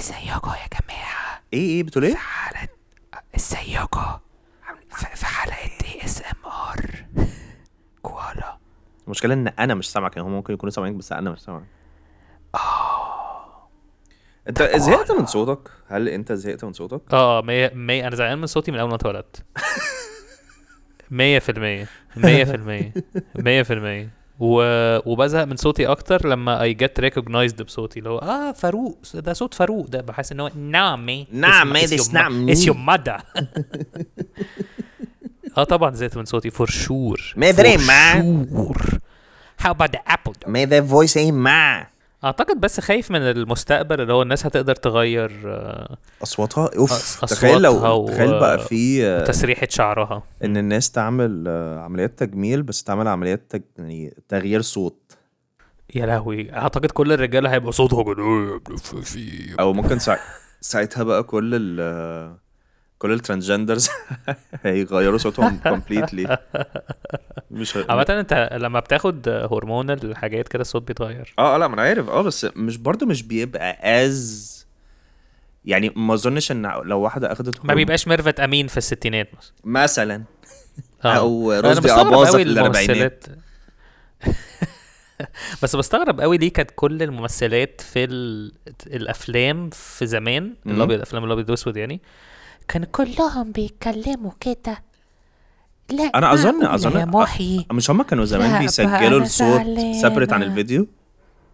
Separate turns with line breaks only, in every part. السيوكو يا جماعة
ايه ايه بتقول ايه؟
في حلقة السيوكو في في حلقة دي اس ام ار كوالا
المشكله ان انا مش سامعك يعني هم ممكن يكونوا سامعينك بس انا مش سامعك انت آه. زهقت من صوتك هل انت زهقت من صوتك
اه اه مية مية انا زعلان من صوتي من اول ما اتولدت مية في المية مية في المية مية في المية و... وبزهق من صوتي اكتر لما اي جيت ريكوجنايزد بصوتي اللي هو اه فاروق ده صوت فاروق ده بحس ان هو نعم مي
نعم، مي، this نعم
اتس
مي.
يور مادا اه طبعا زهقت من صوتي فور شور
مي بري، ما.
شور هاو اباوت ذا ابل
ما ذا فويس ايه مع
اعتقد بس خايف من المستقبل اللي هو الناس هتقدر تغير آه،
اصواتها اوف
أصواتها
تخيل لو
و-
تخيل بقى في آه،
تسريحه شعرها
ان الناس تعمل آه، عمليات تجميل بس تعمل عمليات تج... يعني تغيير صوت
يا لهوي اعتقد كل الرجاله هيبقوا صوتهم كده في- في
او ممكن سا... ساعتها بقى كل ال آه، كل الترانسجندرز هيغيروا صوتهم كومبليتلي مش ه...
عامة انت لما بتاخد هرمون الحاجات كده الصوت بيتغير
اه آه، لا ما انا عارف اه بس مش برضه مش بيبقى از يعني ما اظنش ان لو واحده اخدت
ما
هرمون-
بيبقاش ميرفت امين في الستينات مثلا
مثلا
آه.
أو
أنا
رشدي
بستغرب
أباظة
أوي
في الأربعينات.
الممثلات- بس بستغرب قوي ليه كانت كل الممثلات في ال- الافلام في زمان
مم.
الابيض الافلام الابيض والاسود يعني كان
كلهم بيتكلموا كده لا
انا اظن
معقولة يا
اظن
محي
آه، مش هما كانوا
لا
زمان
بقى
بيسجلوا
أنا
الصوت
زعلانة.
سيبريت عن الفيديو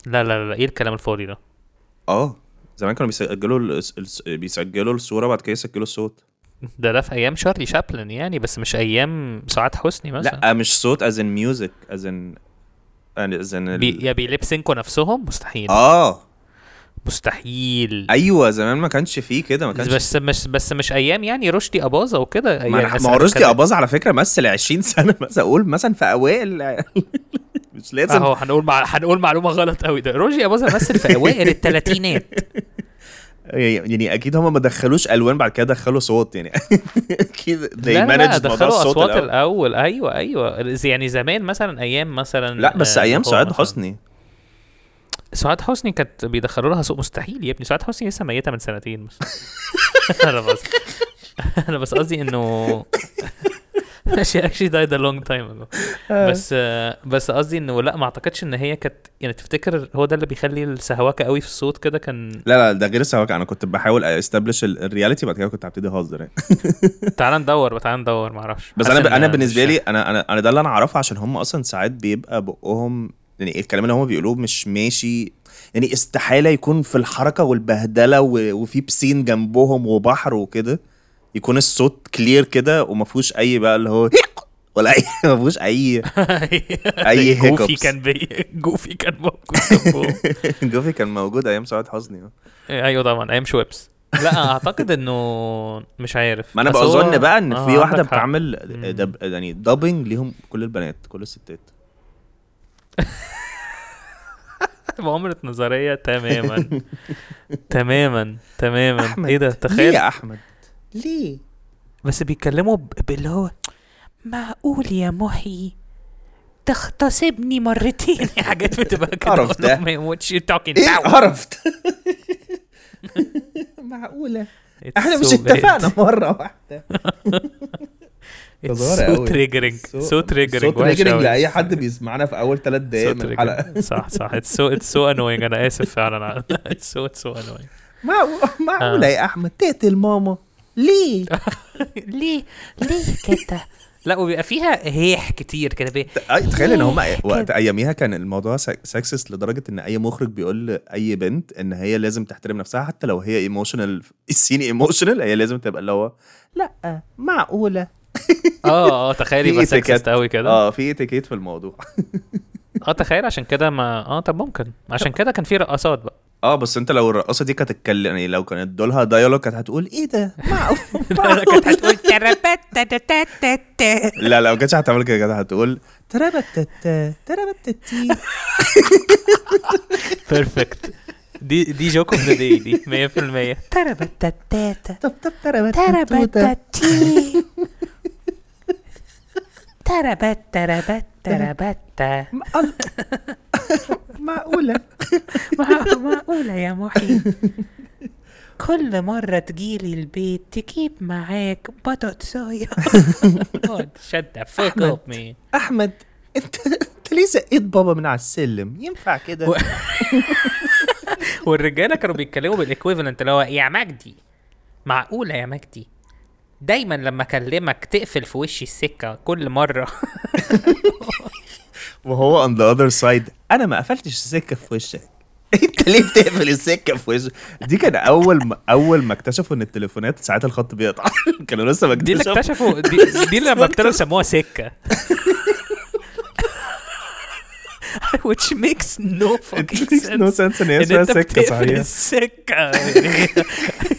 لا لا لا ايه الكلام الفاضي ده
اه زمان كانوا بيسجلوا ال- الس- بيسجلوا الصوره بعد كده يسجلوا الصوت
ده ده في ايام شارلي شابلن يعني بس مش ايام سعاد حسني مثلا
لا آه، مش صوت از ان ميوزك از ان از
بي
ان
يا بيليب سينكوا نفسهم مستحيل
اه
مستحيل
ايوه زمان ما كانش فيه كده ما كانش
بس مش بس مش ايام يعني رشدي اباظه وكده
ما
يعني
أنا-
بس
ما هو
أنا
رشدي
بتكلم-
اباظه على فكره مثل 20 سنه مثلا اقول مثلا في اوائل مش لازم
اهو هنقول مع... هنقول معلومه غلط قوي ده رشدي اباظه مثل في اوائل الثلاثينات
يعني اكيد هم ما دخلوش الوان بعد كده دخلوا صوت يعني اكيد
لا
they
لا لا
managed موضوع
دخلوا
الصوت
اصوات
الأول.
الاول ايوه ايوه ز- يعني زمان مثلا ايام مثلا
لا بس
آه،
ايام
هو
سعاد
مثلاً-
حسني
سعاد حسني كانت بيدخلوا لها سوق مستحيل يا ابني سعاد حسني لسه ميته من سنتين مثلا انا بس انا بس قصدي انه she actually died a long time ago بس آه، بس قصدي انه لا ما اعتقدش ان هي كانت يعني تفتكر هو ده اللي بيخلي السهواكه قوي في الصوت كده كان
لا لا ده غير السواك انا كنت بحاول استبلش الرياليتي بعد كده كنت هبتدي اهزر يعني
تعال ندور تعال ندور ما اعرفش
بس انا ب... انا بالنسبه لي انا انا انا ده اللي انا اعرفه عشان هم اصلا ساعات بيبقى بقهم يعني الكلام اللي هم بيقولوه مش ماشي يعني استحاله يكون في الحركه والبهدله و... وفي بسين جنبهم وبحر وكده يكون الصوت كلير كده وما فيهوش اي بقى اللي هو ولا اي ما فيهوش اي أي
جوفي
hiccups.
كان بي... جوفي كان موجود جنبهم.
جوفي كان موجود ايام سعاد حسني آه.
ايوه طبعا ايام شويبس لا اعتقد انه مش عارف
ما انا
بس هو-
بظن بقى ان
آه،
في واحده
عندك حق.
بتعمل
مم.
دب... يعني دبنج ليهم كل البنات كل الستات
مؤامرة نظرية تماما تماما تماما ايه ده
ليه
تخيل
يا احمد ليه
بس بيتكلموا ب- باللي هو
معقول يا محي تغتصبني مرتين
حاجات بتبقى كده
قرف ده.
واتش يو توكينج
ايه عرفت معقوله احنا مش اتفقنا مره واحده هزار
سو
أوي.
تريجرنج سو تريجرنج
صوت ريجرنج لاي حد بيسمعنا في اول ثلاث دقايق من الحلقه
صح صح اتس سو اتس سو انوينج انا اسف فعلا اتس سو اتس سو انوينج
معقو- معقوله يا احمد تقتل ماما ليه
ليه ليه كده
لا وبيبقى فيها هيح كتير كده بي-
أي- تخيل ان هم وقت اياميها كان الموضوع سكسس لدرجه ان اي مخرج بيقول لاي بنت ان هي لازم تحترم نفسها حتى لو هي ايموشنال السين ايموشنال هي لازم تبقى اللي هو لا معقوله
اه اه تخيل
في
يبقى
etiquette.
سكسست قوي كده
اه في اتيكيت في الموضوع
اه تخيل عشان كده ما اه طب ممكن عشان كده كان في رقصات بقى
اه بس انت لو الرقاصه دي كانت تتكلم يعني لو كانت دولها دايالوج كانت هتقول ايه ده معقول
كانت هتقول
لا لا ما كانتش هتعمل كده كانت هتقول ترابتت ترابتتي
بيرفكت دي دي جوك اوف ذا دي دي 100%
تربتتاتا
طب طب ترابتتي
تربتتي تربت تربت تربت
معقوله
مع- معقولة يا محي كل مرة تجيلي البيت تجيب معاك بطاطساية
God, Oh, shut the fuck up man
احمد انت انت ليه زقيت بابا من على السلم ينفع كده
و- والرجاله كانوا بيتكلموا بالايكويفالنت اللي هو يا مجدي معقوله يا مجدي دايما لما اكلمك تقفل في وشي السكه كل مره
وهو on the other side انا ما قفلتش السكه في وشك انت ليه بتقفل السكه في وشك دي كان اول ما اول ما اكتشفوا ان التليفونات ساعات الخط بيقطع كانوا لسه ما
دي اللي
اكتشفوا.
اكتشفوا دي, دي اللي لما ابتدوا يسموها سكه which makes no fucking
It makes no
sense
sense ان هي
ان
اسمها
انت
سكه
بتقفل
صحيح
السكه يعني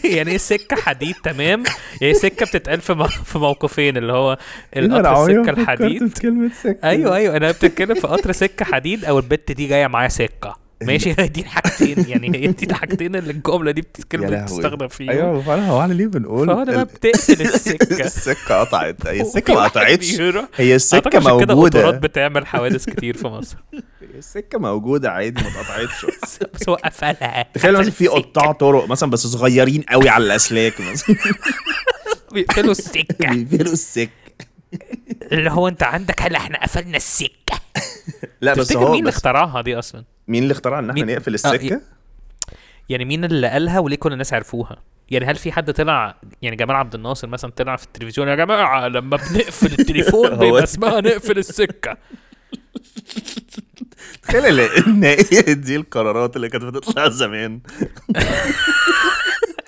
يعني ايه سكه حديد تمام يعني سكه بتتقال في مو- في موقفين اللي هو
أنا
القطر
عمري ما إيه
السكه
فكرت
الحديد
في كلمه سكه
ايوه ايوه انا بتتكلم في قطر سكه حديد او البت دي جايه معايا سكه ماشي هي دي الحاجتين يعني هي دي الحاجتين اللي الجمله دي
يا
بتتكلم
لهوي.
بتستخدم فيهم
ايوه فعلا هو احنا ليه بنقول
فانا بقى
ال-
بتقفل السكه
السكه قطعت هي
وفي
السكه ما
واحد
قطعتش
بيروح-
هي
أعتقد
السكه
عشان كده القطارات
موجوده
بتعمل حوادث كتير في مصر
السكه موجوده عادي ما اتقطعتش
بس هو قفلها
تخيل مثلا في
قفل السكة.
قطاع طرق مثلا بس صغيرين قوي على الاسلاك مثلا
بيقفلوا السكه
بيقفلوا السكه
اللي هو انت عندك هلا احنا قفلنا السكه
لا بس
تفتكر
هو
مين اللي
بس
اخترعها دي اصلا؟
مين اللي اخترع ان احنا
مين-
نقفل
آه،
السكه؟
يعني مين اللي قالها وليه كل الناس عرفوها؟ يعني هل في حد طلع يعني جمال عبد الناصر مثلا طلع في التلفزيون يا جماعه لما بنقفل التليفون
هو
بيبقى
ده.
اسمها نقفل السكه
تخيل ال- ان دي القرارات اللي كانت بتطلع زمان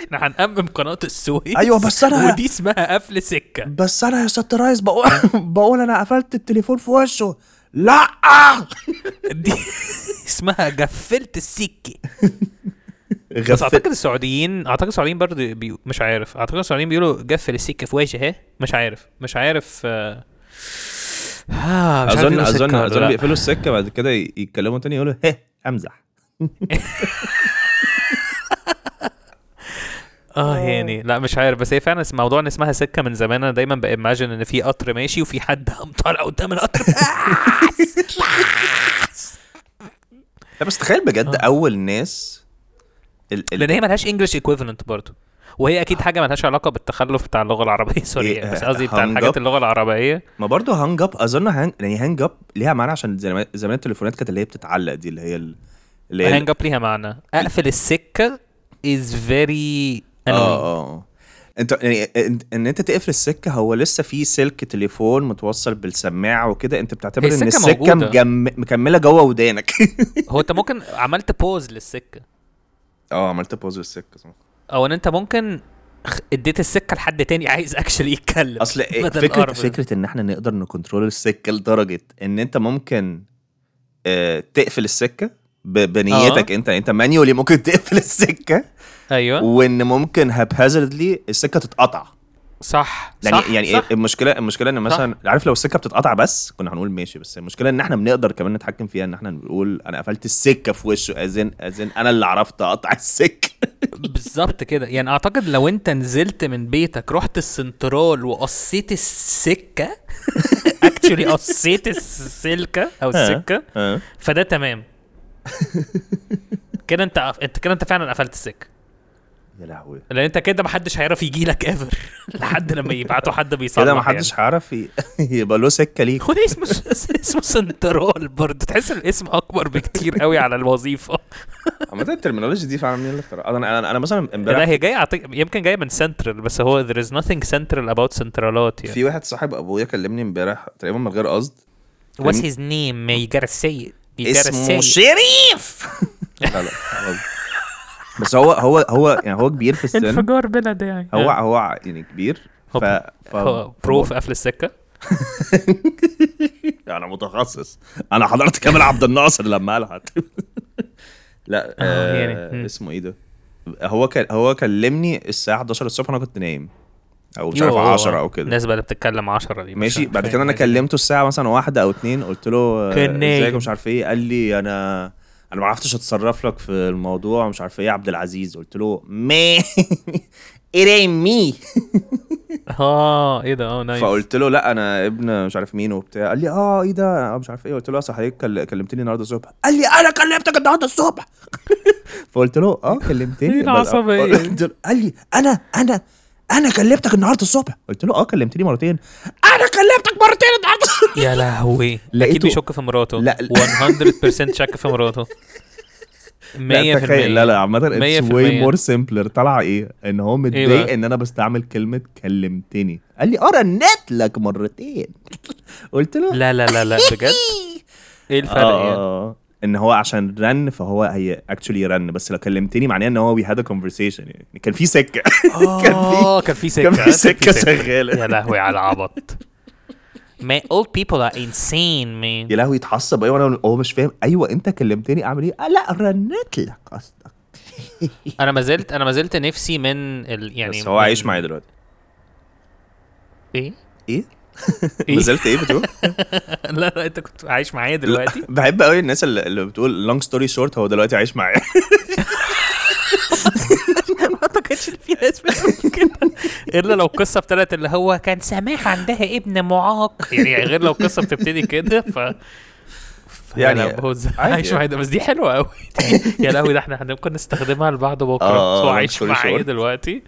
احنا هنأمم قناه السويس
أيوة، بس أنا-
ودي اسمها قفل سكه
بس انا يا ست ريس بقول بقول انا قفلت التليفون في وشه لا
دي اسمها قفلت السكه بس
غفلت
اعتقد السعوديين اعتقد السعوديين برضه بي... مش عارف اعتقد السعوديين بيقولوا قفل السكه في وجهه مش عارف مش عارف آه... آه، مش
اظن
عارف يقولوا سكة
اظن
ولا
اظن
لأ.
بيقفلوا السكه بعد كده ي- يتكلموا تاني يقولوا هه امزح
اه يعني لا مش عارف بس هي فعلا اسم- موضوع ان اسمها سكه من زمان انا دايما بإيماجن ان في قطر ماشي وفي حد قام طالع قدام القطر
لا بس تخيل بجد اول ناس ال- ال-
لان آه. هي ملهاش انجلش ايكويفالنت برضه وهي اكيد حاجه ملهاش علاقه بالتخلف بتاع اللغه العربيه سوري
آه. إيه،
يعني، بس
آه،
قصدي بتاع
hung
الحاجات
up.
اللغه العربيه
ما برضه هانج اب اظن هانج يعني هانج اب ليها معنى عشان زمان زمان التليفونات كانت اللي هي بتتعلق دي اللي هي ال- اللي هي ال-
هانج اب ليها معنى اقفل السكه از فيري
اه اه انت يعني ان, ان انت تقفل السكه هو لسه في سلك تليفون متوصل بالسماعه وكده انت بتعتبر
هي
ان
السكة
السكه
موجودة.
مجم... مكمله جوه ودانك
هو انت ممكن عملت بوز للسكه
اه عملت بوز للسكه صح
او ان انت ممكن خ- اديت السكه لحد تاني عايز اكشلي يتكلم
اصل إيه
بدل
فكره
القرف ده.
فكره ان احنا نقدر نكنترول السكه لدرجه ان انت ممكن آه تقفل السكه ب-
آه.
بنيتك انت انت مانيولي ممكن تقفل السكه
ايوه
وان ممكن هابهازردلي السكه تتقطع
صح
يعني
صح
يعني
صح.
إيه المشكله المشكله ان مثلا عارف لو السكه بتتقطع بس كنا هنقول ماشي بس المشكله ان احنا بنقدر كمان نتحكم فيها ان احنا نقول انا قفلت السكه في وشه ازن ازن انا اللي عرفت اقطع السكه
بالظبط كده يعني اعتقد لو انت نزلت من بيتك رحت السنترال وقصيت السكه اكشلي قصيت السلكه او
ها.
السكه
آه.
فده تمام كده انت انت كده انت فعلا قفلت السكه
يا لهوي
لان انت كده محدش هيعرف يجي لك ايفر لحد لما يبعتوا حد بيصلح
كده محدش
يعني.
هيعرف ي- يبقى له سكه ليك
هو ليه اسمه اسمه سنترال برضه تحس الاسم اكبر بكتير قوي على الوظيفه
عامه الترمينولوجي دي فعلا مين اللي اخترعها انا انا انا مثلا
لا
امبارح
هي جايه أعتقد- يمكن جايه من سنترال بس هو there is nothing central about سنترالات يعني
في واحد صاحب ابويا كلمني امبارح تقريبا من غير قصد
what's his name you gotta say it you gotta say
اسمه
it.
شريف لا لا غلط. بس هو هو هو يعني هو كبير في السن
انفجار بلا داعي
هو هو يعني كبير ف ف-
هو برو في قفل السكه
انا يعني متخصص انا حضرت كامل عبد الناصر لما قالها لا
آه، يعني،
آه
مم.
اسمه ايه ده هو كان هو كلمني الساعه 11 الصبح انا كنت نايم او مش عارف
يوه.
10 او كده
الناس بقى اللي بتتكلم 10 دي مش
ماشي
عارف.
بعد كده انا كلمته الساعه مثلا واحدة او اتنين قلت له آه،
كان نايم.
ازيك مش عارف ايه قال لي انا انا ما عرفتش اتصرف لك في الموضوع مش عارف ايه يا عبد العزيز قلت له مي it ain't me
اه ايه ده اه نايس
فقلت له لا انا ابن مش عارف مين وبتاع قال لي اه ايه ده أنا مش عارف ايه قلت له اصل حضرتك كل- كلمتني النهارده الصبح قال لي انا كلمتك النهارده الصبح فقلت له اه كلمتني
إيه العصبية دي؟
قلت له- قال لي انا انا انا كلمتك النهارده الصبح قلت له اه كلمتني مرتين انا كلمتك مرتين النهارده الصبح.
يا لهوي اكيد
لقيته-
بيشك في مراته
لا-
لا 100% شك في مراته 100%
لا تخيل لا لا عامة
مية
اتس
في
واي
المية. إيه
مور سمبلر طالعة ايه؟ ان هو متضايق
بقى؟
ان انا بستعمل كلمة كلمتني قال لي اه رنت لك مرتين قلت له
لا لا لا لا بجد ايه الفرق يعني
آه ان هو عشان رن فهو هي اكشولي رن بس لو كلمتني معناه ان هو وي هاد كونفرسيشن يعني كان في سكه
اه كان في سكه
كان في
كان
سكه
يا
شغاله
لهوي على العبط ما old people are insane man
يا لهوي اتعصب ايوه انا هو مش فاهم ايوه انت كلمتني اعمل ايه؟ آه لا رنت لك قصدك
انا ما زلت انا ما زلت نفسي من ال يعني
بس هو
من-
عايش معايا دلوقتي
ايه؟
ايه؟
إيه؟
نزلت ايه بتقول؟
لا لا انت كنت عايش معايا دلوقتي
بحب قوي الناس اللي, اللي بتقول لونج ستوري شورت هو دلوقتي عايش معايا
ما اعتقدش ان في ناس بتقول كده الا لو القصه ابتدت اللي هو كان سماح عندها ابن معاق يعني غير لو القصه بتبتدي كده ف
يعني
يعني بوز
عادي
عايش
يعني.
معايا ده- بس دي حلوه قوي يا لهوي ده احنا هنبقى نستخدمها لبعض بكره
آه،
بس هو
long
عايش
story
معايا
short.
دلوقتي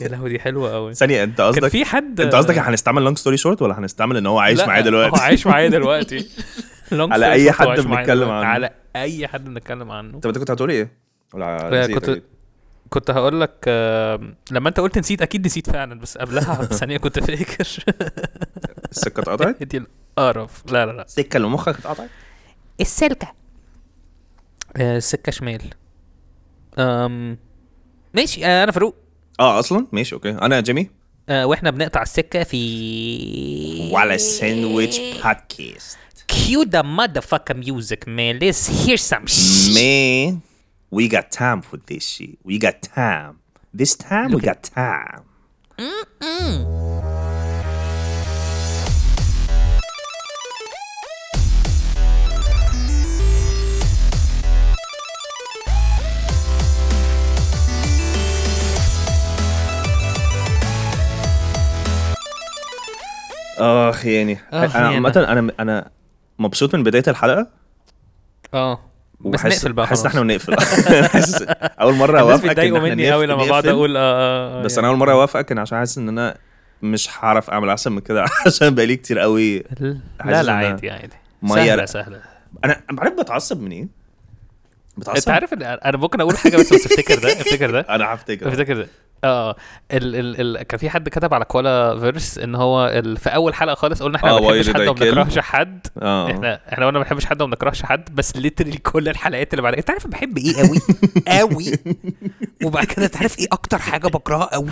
يا لهوي دي حلوه قوي
ثانيه انت
كان
قصدك
في حد
انت قصدك هنستعمل لونج ستوري شورت ولا هنستعمل ان هو عايش
لا،
معايا دلوقتي؟
هو عايش معايا دلوقتي Long
على
story
أي
short، هو
حد
عايش معايا
بنتكلم
دلوقتي.
عنه.
على اي حد بنتكلم عنه
طب انت كنت هتقولي ايه؟ ولا
آه،
نسيت
كنت-
أكيد.
كنت هقول لك آم، لما انت قلت نسيت اكيد نسيت فعلا بس قبلها بثانيه كنت فاكر
السكه اتقطعت؟
دي القرف لا لا لا
السكه اللي مخك اتقطعت؟
السلكة
آه، سكه شمال أم ماشي آه، انا فاروق
اه اصلا ماشي اوكي انا جيمي
آه، واحنا بنقطع السكه في
وعلى ساندويتش بودكاست
cue the motherfucker music man let's hear some shit
man we got time for this shit we got time this time we got time اخ يعني
آخ
انا
يعني.
عامه انا انا مبسوط من بدايه الحلقه
اه بس
وحاسس-
نقفل بقى
حاسس ان
خلاص
احنا بنقفل حاسس- اول مره
الناس
اوافقك
بيتضايقوا
إن إحنا
مني قوي
نقفل-
لما بقعد
نقفل.
اقول اه آه،
بس
آه،
انا اول مره اوافقك ان عشان حاسس ان انا مش هعرف اعمل احسن من كده عشان بقالي كتير قوي
لا
حاسس
لا
إن أنا-
عادي عادي
مية
سهله
رق-
سهله
انا أنا عارف بتعصب من ايه؟
انت
بتعصب
عارف إن انا ممكن اقول حاجه بس بس افتكر ده افتكر ده
انا هفتكر
افتكر ده اه ال ال ال كان في حد كتب على كوالا فيرس ان هو ال في اول حلقه خالص قلنا احنا
آه،
ما بنحبش
why did
حد
I kill?
وما بنكرهش حد
اه
احنا احنا قلنا ما بنحبش حد وما بنكرهش حد بس ليترلي كل الحلقات اللي بعدها انت عارف بحب ايه قوي قوي
وبعد كده تعرف
إيه
ايه اكتر حاجة بكرهها قوي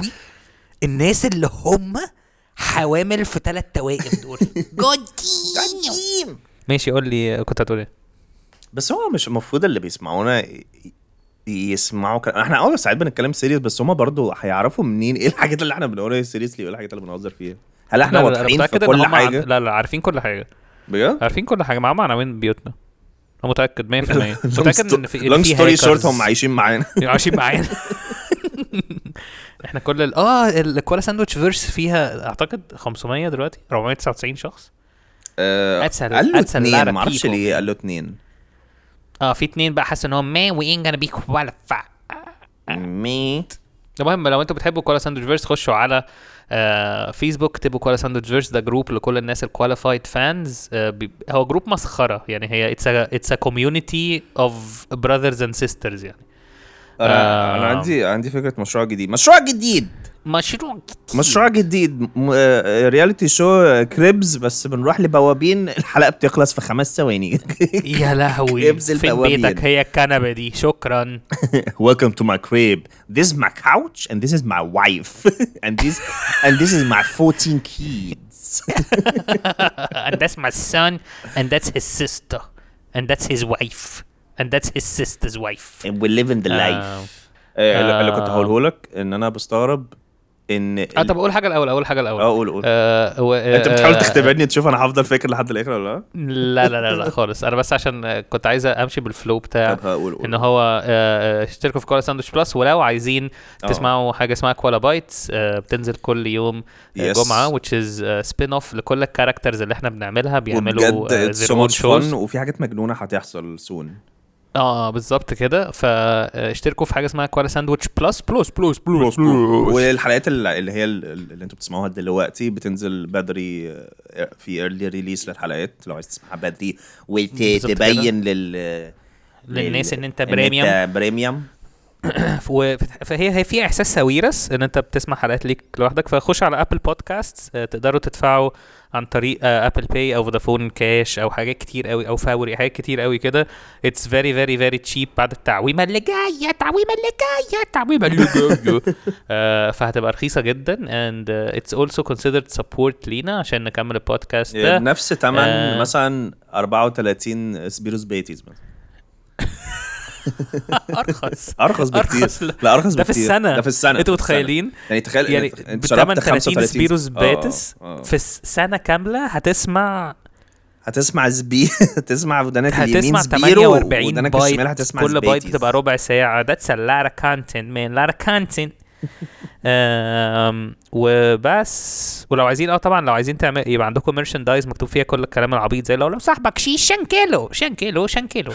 الناس اللي هم حوامل في ثلاث توائم دول
ماشي قول لي كنت هتقول ايه
بس هو مش المفروض اللي بيسمعونا ي- يسمعوا كلام احنا اول ساعات بنتكلم سيريس بس هما برضو هيعرفوا منين ايه الحاجات اللي احنا بنقولها سيريسلي وايه الحاجات اللي بنهزر فيها هل احنا
لا، لا، لا،
واضحين في
متأكد إن
كل
هم عارف-
حاجه
لا لا عارفين كل حاجه
بجد
عارفين كل حاجه معاهم عناوين بيوتنا انا متاكد 100% متاكد ان في إن
لونج
في
ستوري
hackers.
شورت هم عايشين معانا
عايشين معانا احنا كل ال... اه الكوالا ساندويتش فيرس فيها اعتقد 500 دلوقتي 499 شخص
آه،
أتسل-
قال له
أتسل lot
اتنين
of
معرفش
people.
ليه قال له اتنين
اه في اتنين بقى حاسس ان هم ما وي ain't gonna be qualified
آه. مي
المهم لو انتوا بتحبوا كوالا ساندويتش فيرس خشوا على آه فيسبوك اكتبوا كوالا ساندويتش فيرس ده جروب لكل الناس الكواليفايد فانز آه بي- هو جروب مسخره يعني هي اتس اتس ا كوميونتي اوف براذرز اند سيسترز يعني
انا انا
آه.
عندي عندي فكره مشروع جديد مشروع جديد
مشروع جديد.
مشروع جديد آه، رياليتي شو كريبز بس بنروح لبوابين الحلقه بتخلص في خمس ثواني
يا لهوي
كبز
فين
البوابين.
بيتك هي الكنبه دي شكرا
Welcome to my crib. This is my couch and this is my wife and this and this is my 14 kids.
and that's my son and that's his sister and that's his wife and that's his sister's wife
and we live in the
آه.
life. اللي اللي كنت
آه.
هقوله لك ان انا بستغرب ان
اه
ال-
طب اقول حاجه الاول اقول حاجه الاول
اه قول قول
آه، هو آه،
انت بتحاول
آه،
تختبرني تشوف انا هفضل فاكر لحد الاخر ولا لا
لا لا لا لا خالص انا بس عشان آه، كنت عايز امشي بالفلو بتاع
طب هقول قول
ان هو آه، آه، اشتركوا في كولا ساندويتش بلس ولو عايزين
آه.
تسمعوا حاجه اسمها كولا بايتس آه، بتنزل كل يوم آه،
Yes.
جمعه which is سبين اوف لكل الكاركترز اللي احنا بنعملها بيعملوا
وبجد
آه،
it's
their
so
own
much
shows.
fun وفي حاجات مجنونه هتحصل سون
اه بالظبط كده فاشتركوا في حاجه اسمها كولا ساندويتش بلس بلس بلس بلس
والحلقات ال- اللي هي ال- اللي انتوا بتسمعوها دلوقتي بتنزل بدري آه، في ايرلي ريليس للحلقات لو عايز تسمعها بدري
بالظبط كده.
وتبين لل
للناس ان انت
بريميوم
بريميوم
بريميوم
و- فهي هي في احساس سويرس ان انت بتسمع حلقات ليك لوحدك فخش على ابل بودكاست تقدروا تدفعوا عن طريق آه، ابل باي او فودافون كاش او حاجات كتير قوي او فوري حاجات كتير قوي كده اتس فيري فيري فيري تشيب بعد التعويمه اللي جايه التعويمه اللي جايه التعويمه اللي جايه آه، فهتبقى رخيصه جدا اند اتس اولسو كونسيدرد سبورت لينا عشان نكمل البودكاست ده
نفس تمن
آه.
مثلا 34 سبيروس بيتيز مثلا
ارخص
ارخص بكتير
أرخص، لا.
لا ارخص
ده في
بكتير
السنة.
ده في السنه
انتوا
في السنة.
متخيلين؟
يعني تخيل
يعني
يعني انت شربت
بتمن 30
35
سبيروس
آه، آه،
باتس
آه.
في س- سنه كامله هتسمع
هتسمع زبي هتسمع ودانك اليمين
هتسمع
سبيرو
48
ودانك الشمال
بايت
هتسمع
كل بايت
زبيتيز.
بتبقى ربع ساعة that's a lot of content man lot of content آم، وبس ولو عايزين اه طبعا لو عايزين تعمل يبقى عندكم merchandise مكتوب فيها كل الكلام العبيط زي لو لو صاحبك شيش شن كيلو شن كيلو شن كيلو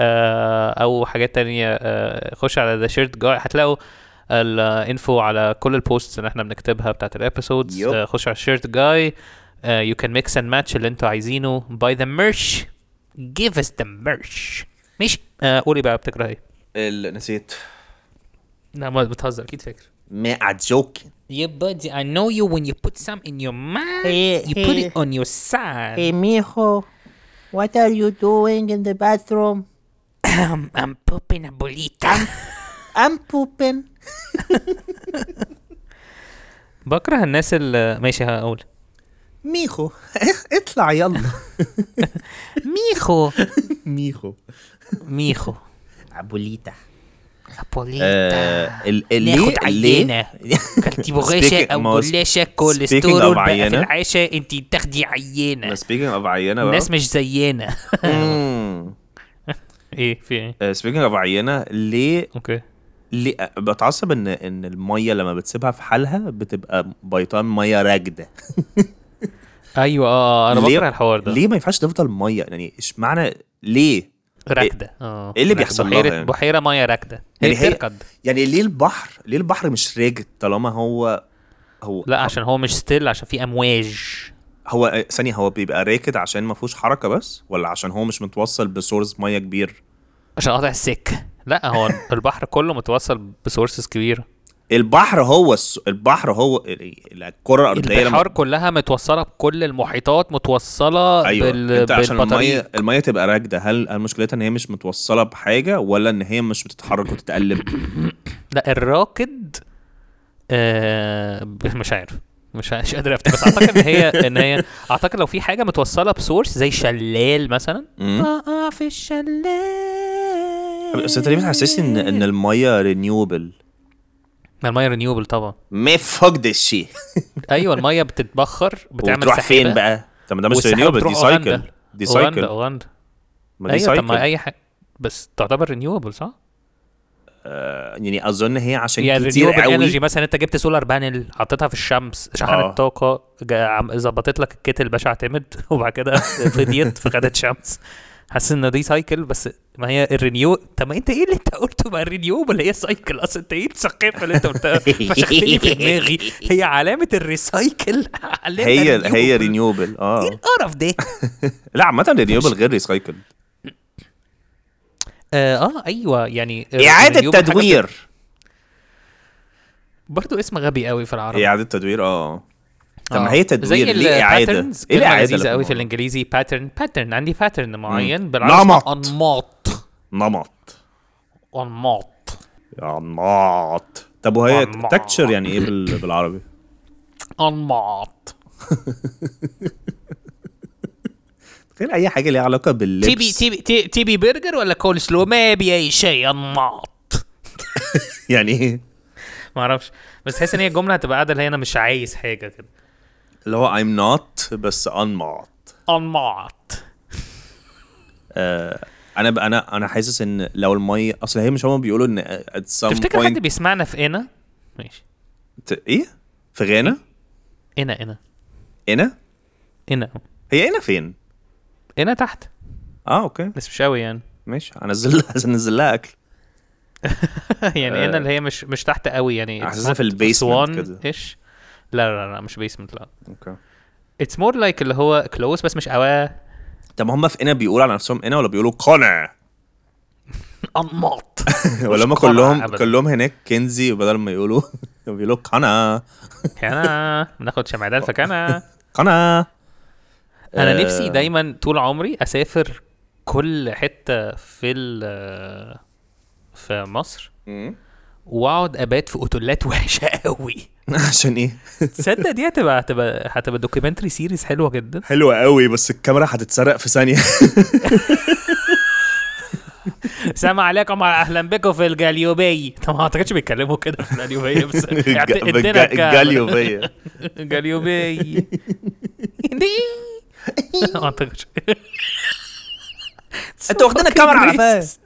آه، او حاجات تانية آه، خش على ذا شيرت جاي هتلاقوا الانفو على كل البوستس اللي احنا بنكتبها بتاعت الابيسودز
Yup.
خش على الشيرت جاي يو كان ميكس اند ماتش اللي انتوا عايزينه باي ذا ميرش جيف اس ذا ميرش ماشي آه، قولي بقى بتكره ايه
ال- نسيت
لا ما بتهزر اكيد فاكر
ما اتجوك
Yeah, buddy, I know you when you put some in your mouth, you put it on your side.
Hey, mijo, what are you doing in the bathroom?
I'm, I'm pooping abuelita.
I'm pooping.
بكره الناس اللي ماشي هقول
ميخو اطلع يلا
ميخو
ميخو
ميخو
ابوليتا
ابوليتا
ليه
ناخد عينة كلتيبو غاشة
Speaking- ما هو
أو جلاشة
speaking
كوليسترول
of
بقى في
عينة.
العاشة انتي بتاخدي عينة
سبيكينج اوف عينه بقى
الناس مش زينا ايه في ايه
سبيكينج اوف عينه ليه
اوكي
ليه بتعصب ان ان الميه لما بتسيبها في حالها بتبقى بيطان ميه راكده
ايوه اه انا
ليه-
بكره الحوار ده
ليه ما ينفعش تفضل ميه يعني اشمعنى ليه
راكده اه
إيه اللي
راكدة.
بيحصل لها
بحيرة
يعني؟
بحيرة مية راكدة هي
يعني هي-
بتركض
يعني ليه البحر ليه البحر مش راجد طالما هو هو
لا عشان هو مش ستيل عشان في امواج
هو آه، ثانيه هو بيبقى راكد عشان ما فيهوش حركه بس ولا عشان هو مش متوصل بسورس ميه كبير
عشان قاطع السكة لا هو البحر كله متوصل بسورسز كبيرة
البحر هو الس... البحر هو ال- ال- الكره الارضيه
البحار كلها متوصله بكل المحيطات متوصله
ايوه
آه، بال...
انت عشان
بالبطاريق
الميه الميه تبقى راكده هل هل مشكلتها ان هي مش متوصله بحاجه ولا ان هي مش بتتحرك وتتقلب
لا الراكد آه... ب- مش عارف مش مش قادر افتكر بس اعتقد ان هي ان هي اعتقد لو في حاجه متوصله بسورس زي شلال مثلا
مم.
اه في الشلال
بس انت ليه بتحسسني ان
آه.
ان الميه رينيوبل
ما الميه رينيوبل طبعا
ما فوق ده الشيء
ايوه الميه بتتبخر بتعمل
وتروح فين
سحابة.
بقى؟ طب ما ده مش
والسحابة
رينيوبل
بتروح
دي
أوغندا.
سايكل دي
اوغندا
سايكل
اوغندا
ما دي
ايوه طب ما
سايكل
اي حاجه بس تعتبر رينيوبل صح؟
آه، يعني اظن هي عشان
يعني
كتير
رينيوبل
قوي
انرجي مثلا انت جبت سولار بانل حطيتها في الشمس شحنت
آه.
طاقه جا- عم- ظبطت لك الكتل باشا اعتمد وبعد كده فضيت فخدت شمس حاسس ان دي سايكل بس ما هي الرينيو طب ما انت ايه اللي انت قلته ما الرينيوبل هي سايكل اصل انت ايه الثقافه اللي انت قلتها فشختني في دماغي هي علامه الريسايكل علامه
هي هي
renewable.
رينيوبل
ايه
اه
القرف ده؟
لا عامة رينيوبل غير ريسايكل
اه آه، ايوه يعني renewable
إعادة
حاجة
تدوير
برضو اسم غبي قوي في العربي
إعادة تدوير اه طب
آه.
ما هي تدوير ليه
زي ال
إعادة؟
patterns،
إيه
كلمة
الإعادة اللي
لذيذة قوي في
في النمط؟
الانجليزي باترن باترن عندي باترن معين
مم.
بالعربي
نمط.
اسمه انماط
نمط
انماط
يا نمط طب وهي
نمط.
تكتشر يعني إيه بال- بالعربي؟
انماط
غير أي حاجة ليها علاقة باللبس
تيبي تيبي تي- تيبي برجر ولا كول سلو ما بي اي شيء انماط
يعني إيه؟
ما اعرفش بس تحس ان هي جمله هتبقى قاعده اللي هي انا مش عايز حاجه كده
اللي هو I'm not بس on not
انمعت
آه انا ب- انا انا حاسس ان لو الميه اصل هي مش هما بيقولوا ان at some
تفتكر حد
point
بيسمعنا في انا ماشي
ت- ايه في غانا
انا انا
هنا
انا
هي هنا فين
انا تحت
اه اوكي
بس مش قوي يعني
ماشي هنزل لها هنزل لها اكل
يعني انا
آه.
اللي هي مش مش تحت قوي يعني
حاسسها في البيسمنت كده.
ايش لا لا لا مش بيسمنت لا
اوكي
اتس مور لايك اللي هو كلوز بس مش قوي
طب ما هم في هنا بيقولوا على نفسهم هنا ولا بيقولوا قنع
انماط
ولا هم
مش قنع
كلهم
أبداً.
كلهم هناك كنزي بدل ما يقولوا بيقولوا قنع
انا بناخد شمعدال فكنا
قنع
انا
آه.
نفسي دايما طول عمري اسافر كل حته في ال- في مصر واقعد ابات في اوتيلات وحشه قوي
عشان ايه
تصدق دي هتبقى هتبقى هتبقى دوكيومنتري سيريز حلوه جدا
حلوة قوي بس الكاميرا هتتسرق في ثانية
سلام عليكم اهلا بكم في الجاليوبي طب ما اعتقدش بيتكلموا كده في الجاليوبي بس يعني
الج-
ادينا
بالج- الجاليوبية
جاليوبي ما اعتقدش
انت واخدين الكاميرا على فاست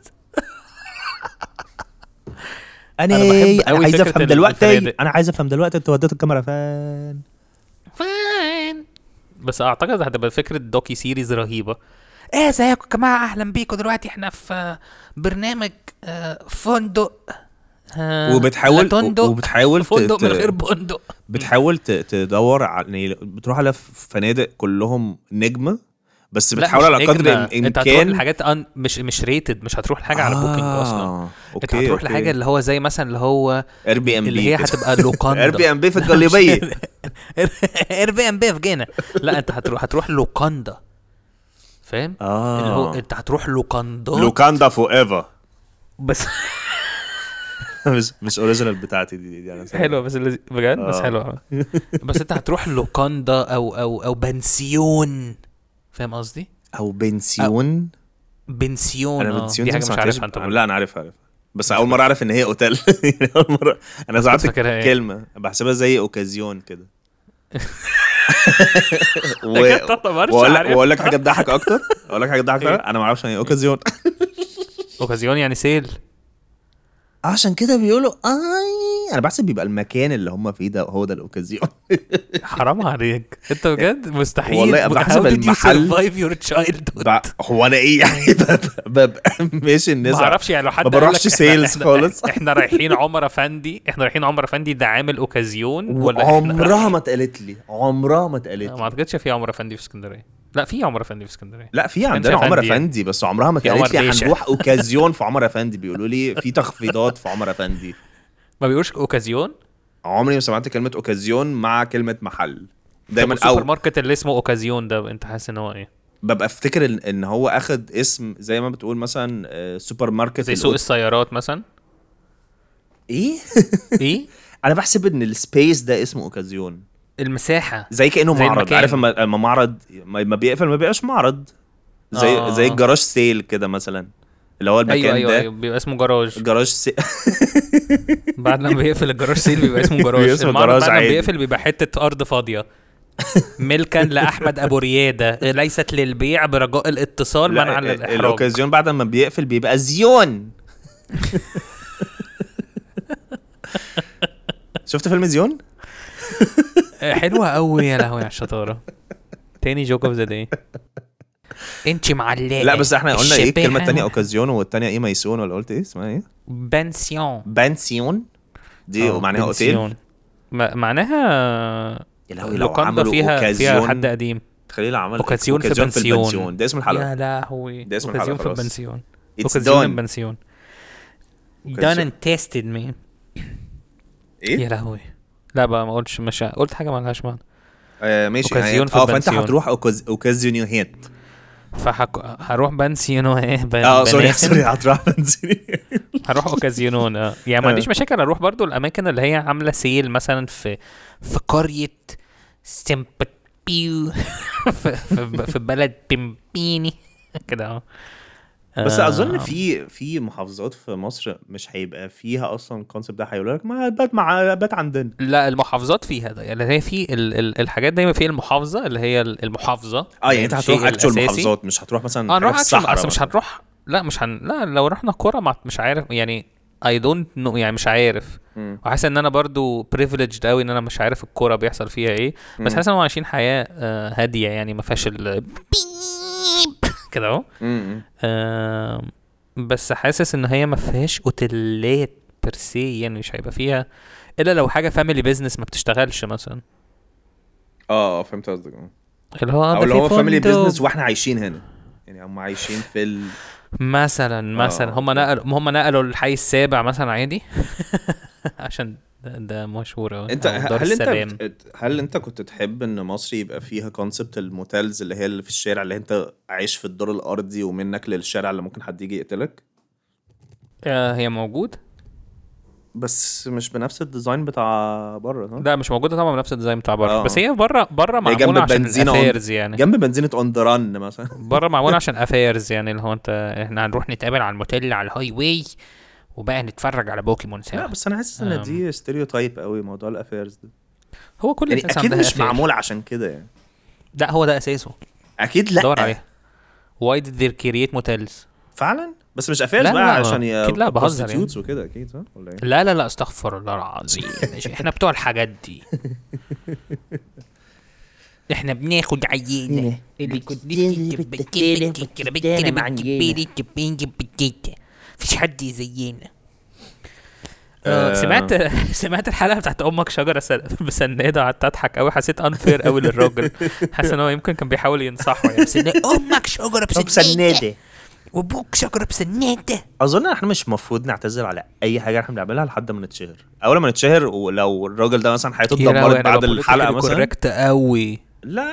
انا
بحب قوي فكرة ال- الفنادق.
انا عايز افهم دلوقتي انتوا وديتوا الكاميرا فين
فين بس اعتقد هتبقى فكره دوكي سيريز رهيبه
ايه ازيكم يا جماعه اهلا بيكم دلوقتي احنا في برنامج آه، فندق
آه،
وبتحاول
لا تندق
وبتحاول ت-
فندق من
ت-
غير بندق
بتحاول ت- تدور على يعني بتروح على فنادق كلهم نجمة بس
لا،
بتحاول
مش
على قدر
نجمة.
الإم-
انت هتروح
الامكان
لحاجات أن... مش مش ريتد مش هتروح لحاجه
آه،
على بوكينج اصلا انت هتروح لحاجه اللي هو زي مثلا اللي هو
اير بي ام بي
اللي هي هتبقى لوكاندا
اير بي ام بي في الجليبيه
اير بي ام بي في جنة لا انت هتروح هتروح لوكاندا فاهم؟
آه.
اللي هو انت هتروح لوكاندا
لوكاندا فور ايفر
بس
مش مش اوريجينال بتاعتي دي, دي انا
حلوه بس اللذي- بجد بس
آه.
حلوه بس انت هتروح لوكاندا او او او بنسيون فاهم قصدي؟
او بنسيون
بنسيون
انا
آه،
بنسيون
دي
دي
حاجه
ما
مش
سمعتهاش.
عارفها انت برضه.
لا انا عارف عارف بس اول مره اعرف ان هي اوتيل يعني اول مره انا زعلت
فاكرها إيه؟
كلمه بحسبها زي اوكازيون كده و...
أكيد طبعاً مش
واقول لك
عارف.
واقول لك حاجه تضحك اكتر اقول لك حاجه تضحك اكتر
إيه؟
انا ما اعرفش يعني ايه اوكازيون
اوكازيون يعني سيل
عشان كده بيقولوا اي انا بحسب بيبقى المكان اللي هم فيه ده هو ده الاوكازيون
حرام عليك انت بجد مستحيل
والله أنا بحسب
How did you
المحل-
survive your childhood؟
بع- هو انا ايه يعني ببقى- ببقى ماشي الناس
ما اعرفش يعني لو حد
ما
قال لك
بروحش
إحنا-
سيلز
إحنا-
خالص.
احنا رايحين عمر افندي احنا رايحين عمر افندي ده عامل اوكازيون ولا إحنا-
عمرها ما اتقالت لي عمرها ما اتقالت
ما
لي
اعتقدش في عمر افندي في اسكندريه لا في عمر افندي في اسكندريه
لا في
كانش
عندنا عمر
أفندي يعني.
افندي بس عمرها ما
في
اتقالت
عمر
لي
باشا.
هنروح اوكازيون في عمر افندي بيقولوا لي في تخفيضات في عمر افندي
ما بيقولوش اوكازيون
عمري ما سمعت كلمه اوكازيون مع كلمه محل دايما
او
او
ماركت اللي اسمه اوكازيون ده انت حاسس ان هو ايه
ببقى افتكر ان- ان هو اخد اسم زي ما بتقول مثلا آه، سوبر ماركت
زي سوق
الأوت-
السيارات مثلا
ايه
ايه
انا بحسب ان السبيس ده اسمه اوكازيون
المساحه
زي كانه
زي
معرض
المكان.
عارف لما لما معرض ما ما بيقفل ما بيبقاش معرض زي
آه.
زي الجراج سيل كده مثلا اللي هو المكان
ايوه
ده
ايوه ايوه بيبقى اسمه جراج
جراج سيل
بعد لما بيقفل الجراج سيل بيبقى اسمه جراج
بيبقى اسمه
المعرض
جراج
بعد لما
عادي.
بيقفل بيبقى حته ارض فاضيه ملكا لاحمد ابو رياده ليست للبيع برجاء الاتصال
لا،
منعا
ال-
للاحراج
الاوكازيون بعد ما بيقفل بيبقى زيون شفت فيلم زيون؟
حلوه قوي إيه، يا لهوي على الشطاره تاني جوك اوف ذا داي
انت معلقه
لا بس احنا قلنا ايه الكلمه
الشبيهة.
الثانيه اوكازيون والثانيه ايه ميسون ولا قلت ايه اسمها ايه؟
بنسيون
بانسيون دي
آه،
معناها اوتيل
بنسيون. ما- معناها
يا لهوي، لو
لوكاندا
عملوا
فيها فيها
أوكازيون-
حد قديم
تخيل عمل
أوكازيون في بنسيون.
البنسيون ده اسم الحلقه
يا لهوي
ده اسم
اوكازيون
الحلقة
في
خلاص.
البنسيون
It's
اوكازيون
done.
البنسيون دان
أوكازيون.
اند تيستد مي يا
ايه؟
لهوي لا بقى ما قلتش مش قلت حاجه ما لهاش معنى
آه ماشي
أوكازيون
يعني-
في
اه فانت
بنسيون.
هتروح أوكاز- اوكازيون هيت
فحك... هروح بنسيون ايه ب...
اه سوري
بناسن.
سوري هتروح بنسيون
هروح اوكازيونون اه يعني
آه.
ما عنديش مشاكل اروح برضو الاماكن اللي هي عامله سيل مثلا في
في قريه سيمبابيو
في, في, في بلد بيمبيني كده اهو
بس
آه،
اظن في في محافظات في مصر مش هيبقى فيها اصلا الكونسيبت ده هيقول لك ما بات مع بات عندنا
لا المحافظات فيها ده يعني هي في ال- ال- الحاجات دايما في المحافظه اللي هي المحافظه
اه يعني انت
الشيء
هتروح اكتشوال
الأساسي.
محافظات مش هتروح مثلا
اه
حاجة
نروح
في
اكشن
الصحراء
بس مش
مثلاً.
هنروح لا مش هن لا لو رحنا كوره ما- مش عارف يعني اي دونت نو يعني مش عارف
مم.
وحاسس ان انا برضو بريفليجد قوي ان انا مش عارف الكوره بيحصل فيها ايه بس
مم.
حاسس ان هم عايشين حياه آه، هاديه يعني ما فيهاش ال بيب كده اهو
مم.
آم، بس حاسس ان هي ما فيهاش اوتيلات بيرسي يعني مش هيبقى فيها الا لو حاجه فاميلي بيزنس ما بتشتغلش مثلا
اه آه، فهمت قصدك آه.
اللي هو
او
آه، ده
اللي
في
هو فاميلي
فندق
بزنس واحنا عايشين هنا يعني هم عايشين في ال...
مثلا مثلا
آه.
هم نقلوا هم نقلوا الحي السابع مثلا عادي عشان ده, ده مشهور أوي،
انت
أو آه، دار
هل
السلام.
انت بت- هل انت كنت تحب ان مصر يبقى فيها كونسبت الموتيلز اللي هي اللي في الشارع اللي انت عايش في الدور الارضي ومنك للشارع اللي ممكن حد يجي يقتلك
آه هي موجود
بس مش بنفس الديزاين بتاع بره صح؟
لا مش موجوده طبعا بنفس الديزاين بتاع بره
آه.
بس هي بره بره
هي
معموله عشان
بنزينة on-
الافيرز يعني
جنب بنزينة اون ذا رن مثلا
بره معموله عشان افيرز يعني اللي هو انت احنا هنروح نتقابل على الموتيل على الهاي واي وبقى نتفرج على بوكيمون
لا
سوا
بس انا حاسس ان دي ستيريو تايب قوي موضوع الافيرز ده
هو كل
يعني
الناس
اكيد
عندها
مش
affair.
معمول عشان كده يعني
لا هو ده اساسه
اكيد
دور
لا
عليها واي ديد ذير كرييت موتيلز
فعلا بس مش افيرز
لا،
بقى
لا،
عشان
أكيد لا، بهزر يعني.
prostitutes وكده اكيد صح ولا ايه
لا لا لا استغفر الله العظيم ماشي، احنا بتوع الحاجات دي احنا بناخد عينه اللي كنت مفيش حد زينا
آه.
سمعت سمعت الحلقه بتاعت امك شجره سل- مسنده قعدت اضحك قوي حسيت انفير قوي للراجل حاسس ان هو يمكن كان بيحاول ينصحه يعني بس
امك شجره بسناده
يعني
وابوك شجره بسناده
اظن احنا مش المفروض نعتذر على اي حاجه احنا بنعملها لحد ما نتشهر اول ما نتشهر ولو الراجل ده مثلا حياته اتدمرت بعد الحلقه مثلا
كوركت قوي
لا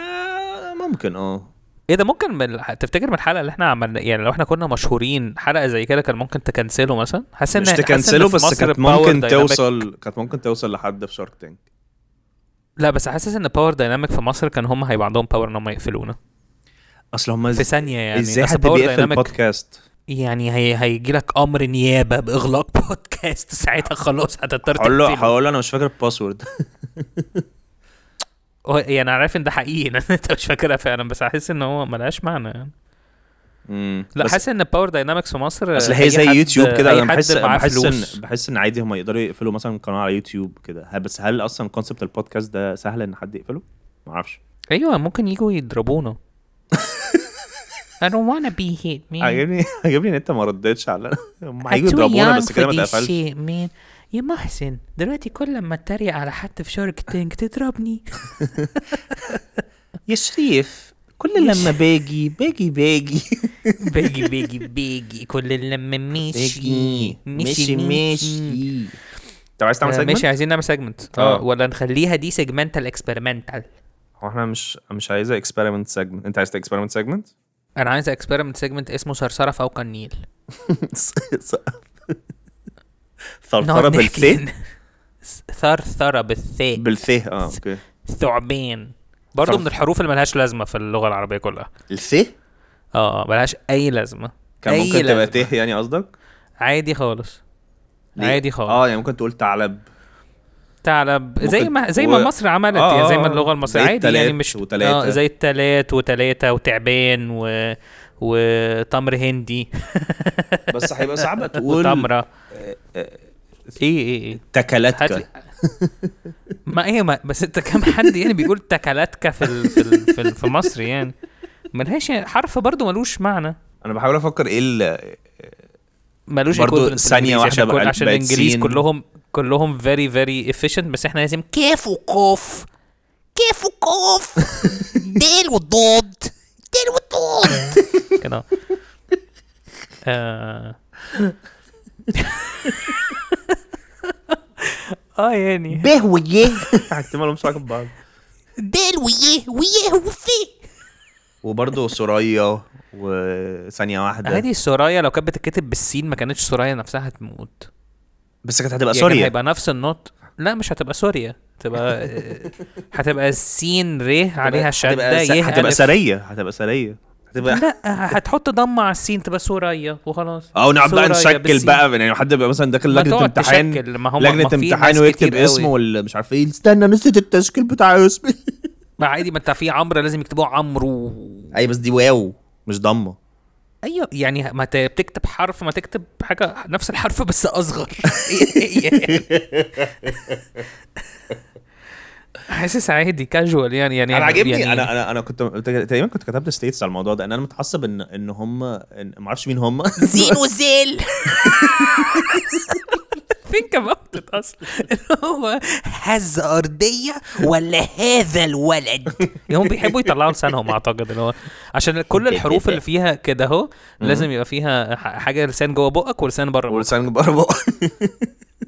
ممكن اه
ايه ده ممكن من الح- تفتكر من الحلقه اللي احنا عملنا يعني لو احنا كنا مشهورين حلقه زي كده كان ممكن تكنسله مثلا حاسس ان
مش
حاسس إن
تكنسله
في
بس
مصر
كانت
الباور
ممكن
دايناميك-
توصل كانت ممكن توصل لحد في شارك تانك
لا بس حاسس ان باور دايناميك في مصر كان هم هيبقى عندهم باور ان هم يقفلونا
اصل هم
في ثانيه يعني
ازاي
أصل
حد
Power
بيقفل
Dynamic
البودكاست
يعني هي هيجي لك امر نيابه باغلاق بودكاست ساعتها خلاص هتضطر
هقول له
تقفله.
هقول له انا مش فاكر الباسورد
هو- يعني انا عارف ان ده حقيقي إن انت مش فاكرها فعلا بس حاسس ان هو ملهاش معنى يعني
مم.
لا
بس-
حاسس ان باور داينامكس في مصر
اصل
أي
هي زي
حد-
يوتيوب كده
أي
انا
حد
بحس
معاه
بحس
فلوس.
ان بحس ان عادي هم يقدروا يقفلوا مثلا قناه على يوتيوب كده ه- بس هل اصلا كونسبت البودكاست ده سهل ان حد يقفله؟ معرفش
ايوه ممكن يجوا يضربونا
I don't wanna be hit, man.
عاجبني عاجبني ان انت ما ردتش على
I'm
هم هيجوا
too
يضربونا
young
بس كده
for
ما
this
اتقفلش
shit, man. يا محسن دلوقتي كل ما اتريق على حد في شارك تانك تضربني
يا شريف كل لما باجي باجي باجي
بيجي بيجي بيجي كل لما مشي
ماشي ماشي طب عايز تعمل
آه، ماشي
سيجمنت؟
عايزين نعمل سيجمنت
آه.
اه ولا نخليها دي سيجمنتال اكسبيرمنتال
هو احنا مش مش عايزه اكسبيرمنت سيجمنت انت عايز اكسبيرمنت سيجمنت؟
انا عايز اكسبيرمنت سيجمنت اسمه صرصره فوق النيل
ثرثره
نقعد نحكي
بالثي
إن- ثرثره بالثاء
بالثي اه اوكي
ثعبان برضه
ثر-
من الحروف اللي ملهاش لازمه في اللغه العربيه كلها
الثي
اه آه، ملهاش اي لازمه
كان
أي
ممكن تبقى
لازمة.
ته يعني قصدك؟
عادي خالص
ليه؟
عادي خالص
اه يعني ممكن تقول ثعلب
تعلب زي
ممكن-
ما زي ما
و-
مصر عملت
آه،
يعني زي ما
آه،
اللغه المصريه
زي
عادي يعني
التلات
مش
وتلاتة.
آه زي التلات وتلاته وتعبان و وتمر هندي
بس هيبقى صعب تقول
وتمره
آه،
ايه ايه ايه هات لي
تكلتك
ما ايه ما بس انت كم حد يعني بيقول تكلاتكا في ال في ال في, ال في مصر يعني ملهاش يعني حرف برضه ملوش معنى
انا بحاول افكر ايه ال-
ملوش
برضه
equivalent في
ثانية
الإنجليزي
واحدة
عشان,
بقى
كل عشان
بقت
الانجليز
سين.
كلهم كلهم فيري فيري efficient بس احنا لازم
كاف وقاف كاف وقاف دال والضاد دال والضاد
كده اه اه يعني
به وجه
هكتبها لهم شويه بعض
دال ويه ويه وفي
وبرضه سوريا وثانية واحدة
عادي سورايا لو كانت بتتكتب بالسين ما كانتش سورايا نفسها هتموت
بس كانت هتبقى
يعني كان
سوريا
هيبقى نفس النوت لا مش هتبقى سوريا هتبقى هتبقى السين ر عليها شده
هتبقى, س...
يه
هتبقى
ألف.
سرية هتبقى سرية هتبقى
لا هتحط دم على السين تبقى سوريا وخلاص
او نقعد نعم، بقى
سوريا
نشكل
بالسين.
بقى يعني حد بيبقى مثلا داخل
ما
لجنه
تقعد
امتحان
تشكل، ما هم-
لجنه
ما في
امتحان
ناس
ويكتب
كتير قوي.
اسمه ولا مش عارف ايه استنى نسيت التشكيل بتاع اسمي
ما عادي ما انت في عمرو لازم يكتبوه عمرو
اي أيوة، بس دي واو مش ضمه
ايوه يعني ما ت- بتكتب حرف ما تكتب حاجه نفس الحرف بس اصغر إيه يعني. حاسس عادي كاجوال يعني يعني
انا عاجبني
يعني
انا انا انا كنت تقريبا كنت كتبت ستيتس على الموضوع ده ان انا متعصب ان ان هم إن ما اعرفش مين هم
زين وزيل
ثينك اباوت ات اصلا اللي هو
هز ارضيه ولا هذا الولد
يعني هم بيحبوا يطلعوا لسانهم اعتقد اللي هو عشان كل الحروف اللي فيها كده اهو لازم يبقى فيها ح- حاجه لسان جوه بقك ولسان بره بقك
ولسان بربق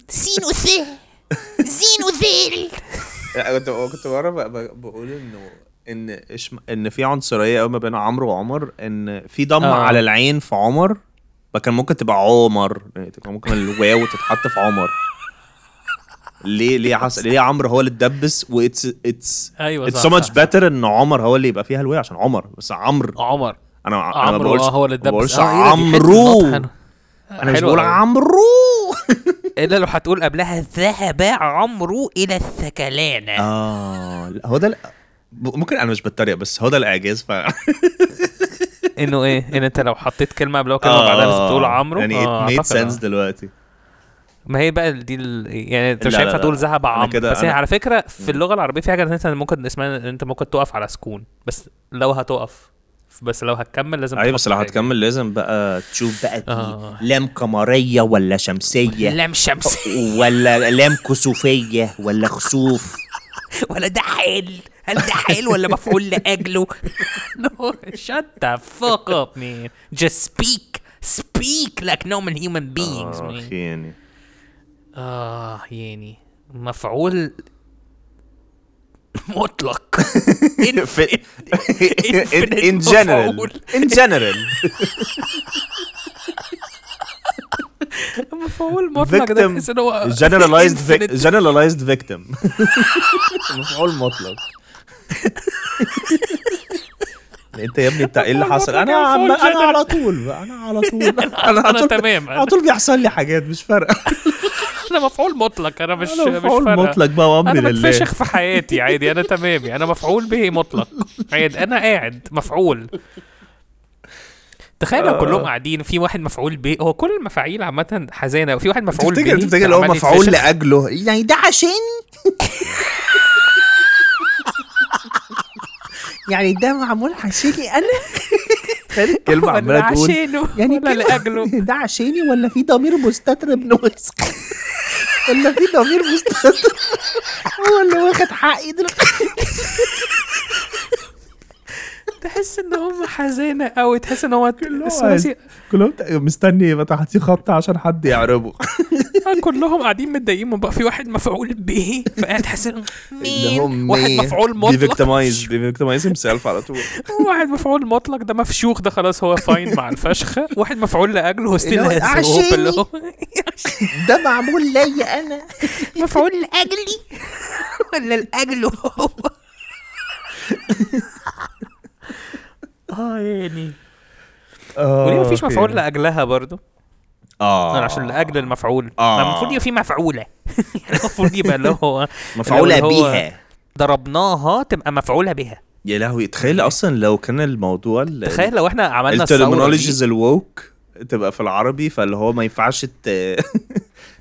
زين وزيل زين وزيل
لا، كنت كنت مره ب- ب- بقول انه ان إشم... ان في عنصريه قوي ما بين عمرو وعمر ان في ضم
آه.
على العين في عمر فكان ممكن تبقى عمر يعني تبقى ممكن الواو تتحط في عمر ليه ليه حصل ليه عمرو هو اللي اتدبس واتس اتس
أيوة،
اتس
صح،
سو ماتش
صح.
بتر ان عمر هو اللي يبقى فيها الواو عشان عمر بس عمرو
عمر
انا انا ما
آه. عمرو
بقولش
آه، هو اللي
ما بقولش
اتدبس آه، إيه ده، دي حتة
عمرو
نقط حلوة.
انا مش
حلوة
بقول
أوي.
عمرو
الا لو هتقول قبلها
ذهب عمرو الى الثكلانه
اه لا، هو ده ال- ممكن انا مش بتريق بس هو ده الاعجاز ف
انه ايه ان انت لو حطيت كلمه قبلها وكلمه بعدها لازم تقول عمرو آه،
آه. يعني it made
أعتقد،
sense
آه.
دلوقتي
ما هي بقى دي ال... يعني انت مش
لا، لا،
هينفع
لا.
تقول ذهب
أنا
عمرو
كده-
بس هي
أنا-
على فكره في اللغه العربيه في حاجه إن انت ممكن اسمها إن انت ممكن تقف على سكون بس لو هتقف بس لو هتكمل لازم
ايوه بس
تحط
لو
حاجة.
هتكمل لازم بقى تشوف بقى
طيب. آه.
دي لام قمريه ولا شمسيه
لم شمس
ولا لام كسوفيه ولا خسوف
ولا ده حيل هل ده حيل ولا مفعول لاجله
shut the fuck up man
just speak speak like normal human beings
آه،
مين؟
يعني
اه يعني مفعول
مطلق
في- in-
Infinite
in general
مفعول.
in general
مفعول مطلق ده
victim
تحس ان هو
generalized vic-
infinite.
generalized victim مفعول مطلق انت يا ابني انت ايه اللي
مفعول
حصل
مطلق
انا
يا
عم-
مفعول
انا
general.
على طول بقى، انا على طول انا
أنا
على طول
تمام.
على طول بيحصل لي حاجات مش فارقه
انا مفعول مطلق انا مش
أنا
مش
مفعول
فارقة.
مطلق بقى وأمري
انا
لله.
بتفشخ في حياتي عادي انا تمامي انا مفعول به مطلق عادي انا قاعد مفعول تخيل
آه.
لو كلهم قاعدين في واحد مفعول به هو كل المفاعيل عامة حزينة وفي واحد مفعول به
تفتكر تفتكر اللي هو
فعمال
مفعول
يتفشخ.
لاجله يعني ده عشاني
يعني ده معمول عشاني انا
كلمه
ولا
عماله تقول
عشانه
يعني
ولا
كده-
لأجله
ده عشاني ولا في ضمير مستتر ابن وسخ ولا في ضمير مستتر هو اللي واخد حقي دلوقتي
تحس ان هم حزينة قوي تحس ان هو ثلاثي
كلهم ت- مستني يبقى تحتيه خط عشان حد يعربه
آه، كلهم قاعدين متضايقين بقى في واحد مفعول به فقاعد تحس إن
اللي هو
مين واحد
مي-
مفعول مطلق
بيفيكتمايز بيفيكتمايز himself على طول
واحد مفعول مطلق ده مفشوخ ده خلاص هو فاين مع الفشخه واحد مفعول لاجله هو ستيل
اللي هو
هاز هوب اللي هو
ده معمول ليا انا
مفعول لاجلي ولا لاجله هو
اه يعني
طيب. آه،
وليه مفيش
أوكي.
مفعول لاجلها برضه؟
اه
انا عشان لاجل المفعول
آه.
ما المفروض يبقى في مفعوله المفروض يبقى اللي هو
مفعولة
اللي هو
بيها
ضربناها تبقى مفعوله بها
يا لهوي تخيل اصلا لو كان الموضوع ال-
تخيل لو احنا عملنا الثورة دي.
الترمينولوجيز الووك تبقى في العربي فاللي هو ما ينفعش ت ما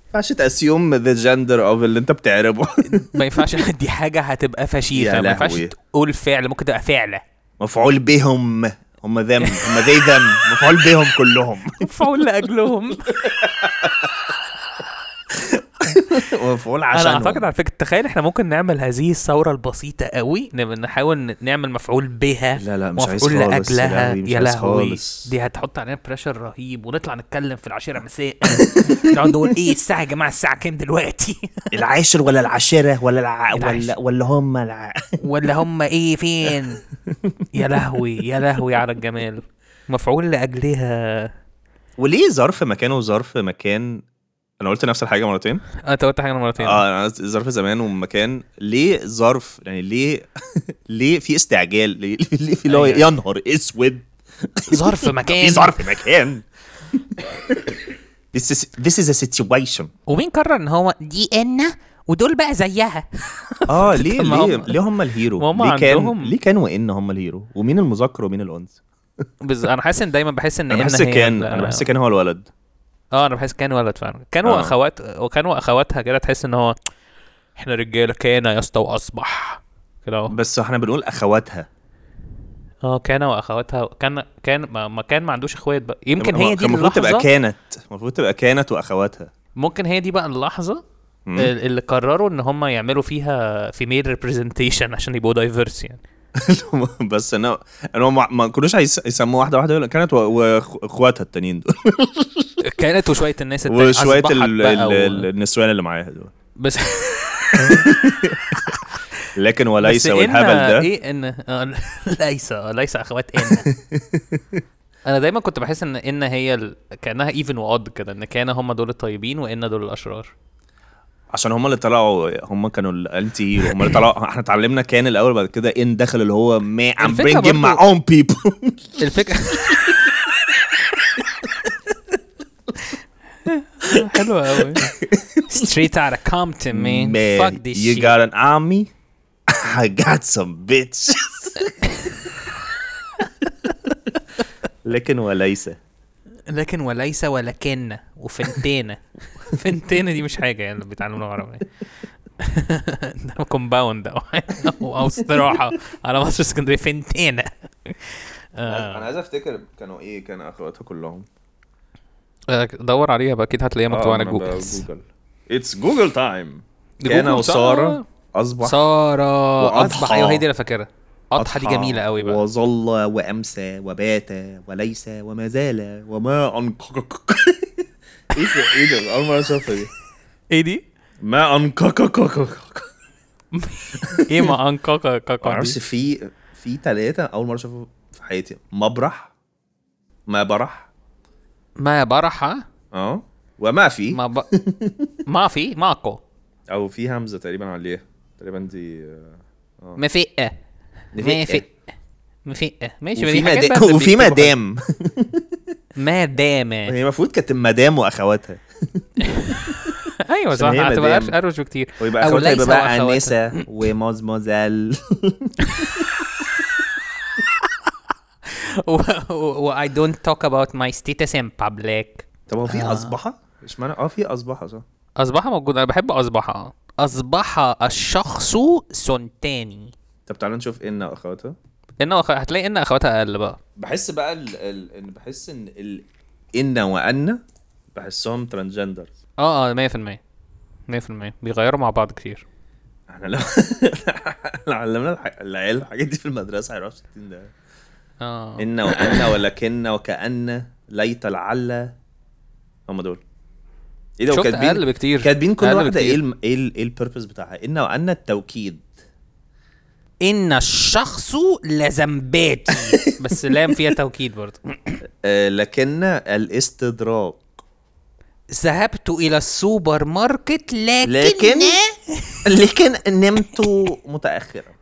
ينفعش تاسيوم ذا جندر اوف اللي انت بتعربه
ما ينفعش دي حاجه هتبقى
يا
فشيخه ما ينفعش
لهوي.
تقول فعل ممكن تبقى فعله
مفعول بهم هم ذم هم ذي ذم مفعول بهم كلهم
مفعول لاجلهم
مفعول عشان
انا اعتقد على فكره تخيل احنا ممكن نعمل هذه الثوره البسيطه قوي نب- نحاول ن- نعمل مفعول بها
لا لا مش عايز
مفعول
خالص يا
لاجلها
لهوي، مش
يا
عايز
لهوي
خالص.
دي هتحط علينا بريشر رهيب ونطلع نتكلم في العشره مساء
نقعد نقول
إيه
ايه الساعه يا جماعه الساعه كام دلوقتي
العاشر ولا العاشره ولا الع... ولا
العاشر.
ولا هم الع...
ولا هم
إيه،
ايه فين
يا لهوي يا لهوي على الجمال مفعول لاجلها
وليه ظرف مكانه ظرف مكان انا قلت نفس الحاجه مرتين
آه، انت قلت حاجه مرتين
اه انا قلت ظرف زمان ومكان ليه ظرف يعني ليه ليه في استعجال ليه, ليه في اللي هو
أيوة.
ينهر اسود
ظرف مكان
في ظرف مكان This is this is a situation.
ومين قرر ان هو دي ان ودول بقى زيها
اه ليه
طب ما
ليه
هم-
ليه هم الهيرو؟
ما هم
ليه كان
عندهم-
ليه كان وان هم الهيرو؟ ومين المذكر ومين الانثى؟
بز... انا حاسس ان دايما بحس ان
انا
إن
بحس
هي
كان
ال-
انا بحس كان هو الولد
اه انا بحس كان ولد فعلا كان
آه.
واخوات وكان واخواتها كده تحس ان هو احنا رجاله كان يا اسطى واصبح كده اهو
بس احنا بنقول اخواتها
اه كان واخواتها كان كان ما ما كان ما عندوش اخوات بقى يمكن هي دي
يعني المفروض تبقى
اللحظه
كانت المفروض تبقى كانت واخواتها
ممكن هي دي بقى اللحظه
مم.
ال- اللي قرروا ان هم يعملوا فيها فيميل ريبريزنتيشن عشان يبقوا دايفيرس يعني
بس انا انا ما ما كانوش هيس- يسموها واحده واحده يقولوا كانت و- واخواتها التانيين دول
كانت وشويه الناس التانية
وشويه
أصبحت
ال-
بقى
ال-
و-
ال- النسوان اللي معاها دول
بس
لكن وليس
بس إن-
والهبل ده
ايه ان آه، ليس آه، ليس اخوات ان انا دايما كنت بحس ان ان هي ال... كانها ايفن واد كده ان كان هم دول الطيبين وان دول الاشرار
عشان هم اللي طلعوا هم كانوا الانتي هم E اللي طلعوا احنا اتعلمنا كان الاول بعد كده ان دخل اللي هو ما I'm
الفكرة
bringing my
برضو-
own people
الفكره حلوة قوي ستريت اوت اوف كومبتون مان
Man,
فاك ذيس
you
شيت
got an army I got some bitches لكن وليس
لكن وليس ولكن وفنتينا فنتينا دي مش حاجه يعني بيتعلموا لغه عربيه ده كومباوند او او استراحه على مصر اسكندريه فنتينا آه،
عايز افتكر كانوا ايه كان اخواتها كلهم
آه، دور عليها آه، بقى اكيد
آه،
هتلاقيها مكتوبه على جوجل
اتس جوجل تايم
دي
كان
جوجل،
وساره اصبح
ساره
وأضحى.
اصبح ايوه هي دي اللي فاكرها اضحى دي جميله قوي بقى
وظل وامسى وبات وليس وما زال وما انقك ايه ده ايه ده اول مره اشوفها دي
ايه دي؟
ما انقك
ايه ما انكاكا كاكا
معرفش في في ثلاثة أول مرة أشوفه في حياتي مبرح ما برح
ما برح ها؟
أه وما في
ما ب... ما في ماكو
أو في همزة تقريبا عليها تقريبا دي آه،
مفقه مفقه مفقه ماشي ما
وفي
دي حاجات
مدام
بقى اللي
وفي
بيكتبوها.
مدام
ما دام
هي المفروض كانت مدام وأخواتها
ايوه صح
عشان هي
هتبقى
مدام.
أرش- اروش بكتير
ويبقى
أو
أخواتها
ليس
يبقى بقى
وأخواتها.
أنسة ومازموزيل
واي دونت توك اباوت ماي ستيتس ان بابليك
طب هو
آه.
في أصبحة؟ اشمعنى اه في أصبحة صح
اصبح موجود انا بحب اصبح آه. اصبح الشخص سنتاني
طب تعالى نشوف إن أخواتها
ان أخ... هتلاقي ان اخواتها اقل بقى
بحس بقى ال... ال... إن بحس إن ال... إن وأن بحسهم ترانسجندر
اه اه 100% 100% بيغيروا مع بعض كتير
احنا لو لو علمنا الح- العيال الحاجات دي في المدرسه هيروحوا 60 ده
اه
ان وان ولكن وكان ليت لعل هم دول ايه ده
شفت
وكاتبين-
اقل بكتير
كاتبين كل
أقل
واحده ايه
بكتير.
الم- ايه ال- ايه البيربز بتاعها ان وان التوكيد
ان الشخص لزمباتي بس لام فيها توكيد برضه
آه لكن الاستدراك
ذهبت الى السوبر ماركت لكن
لكن لكن نمت متاخرا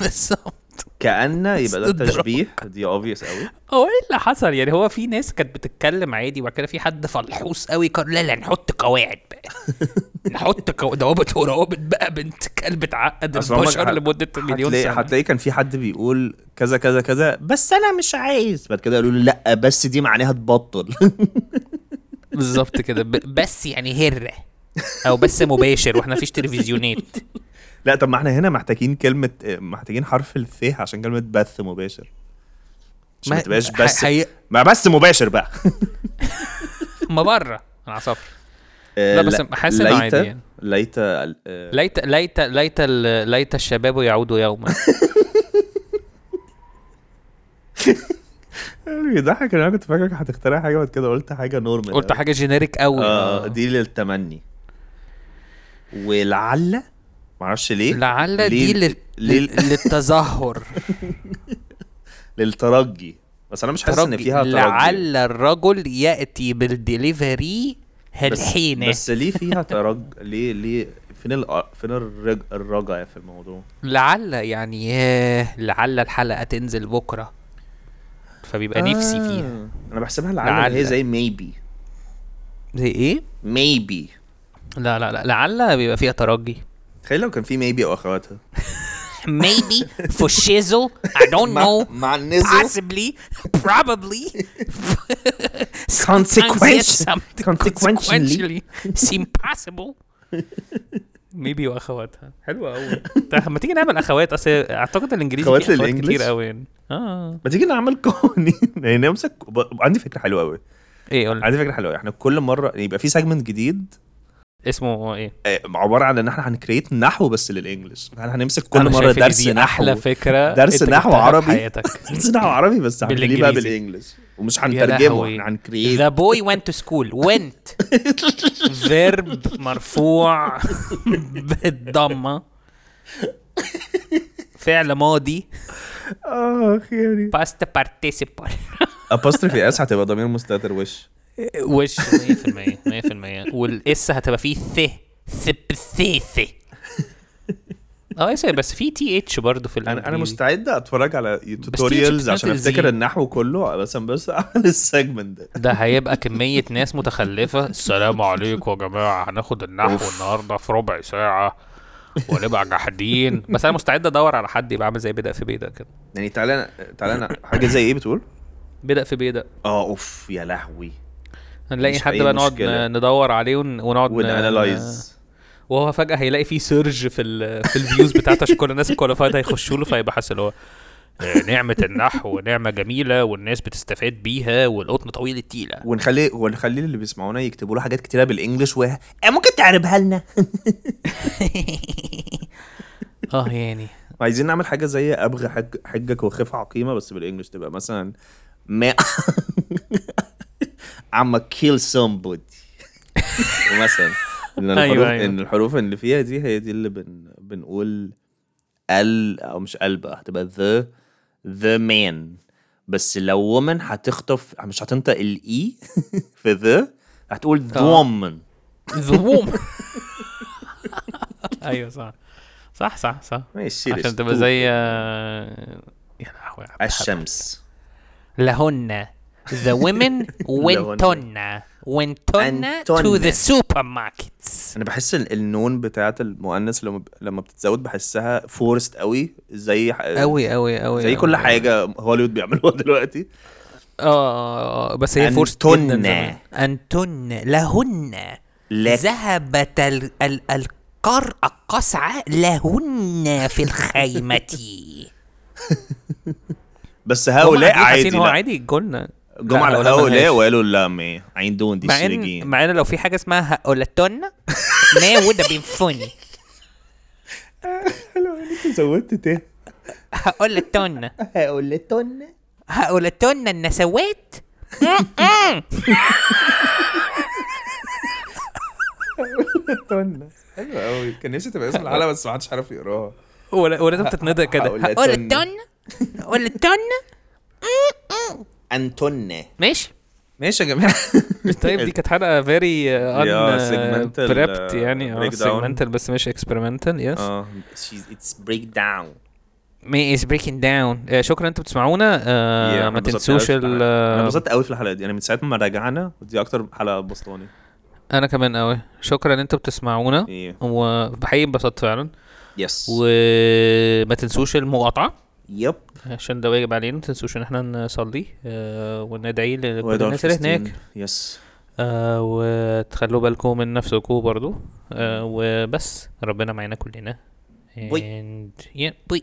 بالظبط
كان يبقى ده
استدراك.
تشبيه دي اوبفيس قوي
هو ايه اللي حصل يعني هو في ناس كانت بتتكلم عادي وبعد كده في حد فلحوص قوي قال لا لا نحط قواعد بقى نحط قو... ضوابط وروابط بقى بنت كلب تعقد
أصل عمرك
البشر
هت-
لمده مليون
هتلاقي-
سنه
هتلاقي كان في حد بيقول كذا كذا كذا بس انا مش عايز بعد كده قالوا له لا بس دي معناها تبطل
بالظبط كده ب... بس يعني هره او بس مباشر واحنا مفيش تلفزيونات
لا طب ما احنا هنا محتاجين كلمه آه، محتاجين حرف الث عشان كلمه بث مباشر عشان ما تبقاش بس
ح- حي...
ما بس مباشر بقى
ما بره انا عصفر
آه،
لا، بس حاسس إنه عادي
ليت-
يعني.
ليت ال- آه،
ليت ليت ليت ال- ليت الشباب يعود يوما
بيضحك إن انا كنت فاكرك هتخترع حاجه بعد كده قلت حاجه نورمال
قلت
أوي.
حاجه جينيريك قوي آه.
اه دي للتمني ولعل معرفش ليه
لعل دي
ليه-
لل...
ليه-
لل... للتظاهر
للترجي بس انا مش حاسس ان
ترجي.
فيها ترجي
لعل الرجل ياتي بالدليفري
بس-
الحين
بس ليه فيها ترج ليه ليه فين ال... فين الرج... الرجع في الموضوع
لعل يعني ياه لعل الحلقه تنزل بكره
آه.
فبيبقى نفسي فيها
انا بحسبها لعل اللي
لعل.
هي زي ميبي
زي
إيه؟
ايه؟
ميبي
لا لا لا لعل بيبقى فيها ترجي
تخيل لو كان في ميبي او اخواتها
Maybe for shizzle. I don't know.
مع النزل
Possibly. Probably.
consequential
somethally.
consequentially
It's impossible.
ميبي واخواتها حلوه قوي طب ما تيجي نعمل اخوات اصل اعتقد الانجليزي
أخوات
فيه اخوات
للإنجليز؟
كتير قوي يعني
Ah.
اه
ما تيجي نعمل قوانين يعني نمسك ب- عندي فكره حلوه قوي
Eh,
ايه قول
عندي فكره حلوه احنا كل مره يبقى في سيجمنت جديد
اسمه
eh.
ايه
آه، عباره عن ان احنا هنكريت نحو بس للانجلش احنا هنمسك كل
أنا
مره
شايف إن
درس
دي
نحو
احلى فكره
درس
أنت
نحو
جبتها في
عربي.
حياتك
درس نحو عربي بس هنخليه بقى
بالإنجليزي.
بالانجلش ومش
لهوي.
هنترجمه احنا هنكريت
The boy went to school. Went.
فيرب مرفوع بالضمه فعل ماضي
اخ يعني
Past participle.
ابوستروفي اس هتبقى ضمير مستتر وش
وش 100% 100% والاس هتبقى فيه ث
Sip- si- si.
اه يس بس في تي اتش برضه في
انا انا
الإنجليزي.
مستعد اتفرج على
تيجي
توتوريالز
تقنع
عشان
الزين.
افتكر النحو كله بس أنا بس اعمل السيجمنت ده
ده هيبقى كمية ناس متخلفة السلام عليكم يا جماعة هناخد النحو النهاردة في ربع ساعة ونبقى جحدين بس أنا مستعد أدور على حد يبقى عامل زي بدأ في بيدق كده
يعني تعالى تعالى أنا- حاجه زي ايه بتقول؟
بدأ في بيدق
اه اوف يا لهوي
هنلاقي
مش
حد
أي
بقى نقعد
مشكلة.
ن- ندور عليه ون- ونقعد ن-
ونانلايز
وهو فجأة هيلاقي فيه سيرج في ال في الفيوز بتاعته عشان كل الناس الكواليفايد هيخشوا له فيبقى حاسس اللي هو آه، نعمة النحو نعمة جميلة والناس بتستفاد بيها والقطن طويل التيلة
ونخلي ونخلي اللي بيسمعونا يكتبوا له حاجات كتيره بالانجلش و
Eh,
آه، ممكن تعربها لنا
آه،
اه يعني
عايزين نعمل حاجه زي ابغى حج... حجك وخف عقيمه بس بالانجلش تبقى مثلا ما عم kill somebody مثلا ان الحروف
أيوة، أيوة.
ان الحروف اللي فيها دي هي دي اللي بن... بنقول ال او مش ال بقى هتبقى the the man بس لو woman هتخطف مش هتنطق الاي في the هتقول the
آه.
woman
ذموم ايوه صح صح صح صح
ماشي
عشان تبقى زي آه، يا لهوي عبد الحق.
الشمس
لهن the women wentonna wentonna to
Antonna.
the supermarkets
انا بحس ال- النون بتاعت المؤنث لما ب- لما بتتزود بحسها فورست قوي زي ح...
قوي قوي قوي
زي كل حاجه هوليوود بيعملوها دلوقتي
اه آه، بس هي فورس
أنتن.
أنتن لهن
لك
ذهبت ال- ال- القرع القصعة لهن في الخيمة
بس هؤلاء عادي
هو
لا.
عادي قلنا
جم على
هؤلاء
هؤلاء
ملهاش.
وقالوا لا ما عين دون دي
مع
الشرجين
ان مع ان لو في حاجة اسمها هؤلتن ما would have been funny
زودت تاني
هؤلتن
هقولتن
هؤلتن النسوات
حلو قوي أيوة، كان نفسي تبقى اسم الحلقه بس ما حدش عارف يقراها
ولا- ولازم تتندى كده
هؤلتن هؤلتن
انتون
ماشي
ماشي يا جماعه
طيب دي كانت حلقه فيري
يا
ان
segmental،
بريبت
آه،
يعني اه
break down.
سيجمنتال بس مش اكسبيرمنتال يس
اه اتس بريك داون
مي از بريكنج داون شكرا انتوا Uh, بتسمعونا آه، ما تنسوش ال
انا
آه،
يعني، انبسطت قوي في الحلقه دي انا من ساعه ما رجعنا ودي اكتر حلقه بسطاني
انا كمان قوي شكرا ان انتوا بتسمعونا
ايه
وحقيقي انبسطت فعلا
يس
وما تنسوش المقاطعه
يب عشان
عشان ده واجب علينا ما تنسوش ان احنا نصلي آه، وندعي لكل
وادعوا
الناس اللي هناك
لفلسطين. يس
آه، وتخلوا بالكم من نفسكم برضو آه، وبس ربنا معانا كلنا
بوي.
and yeah, بوي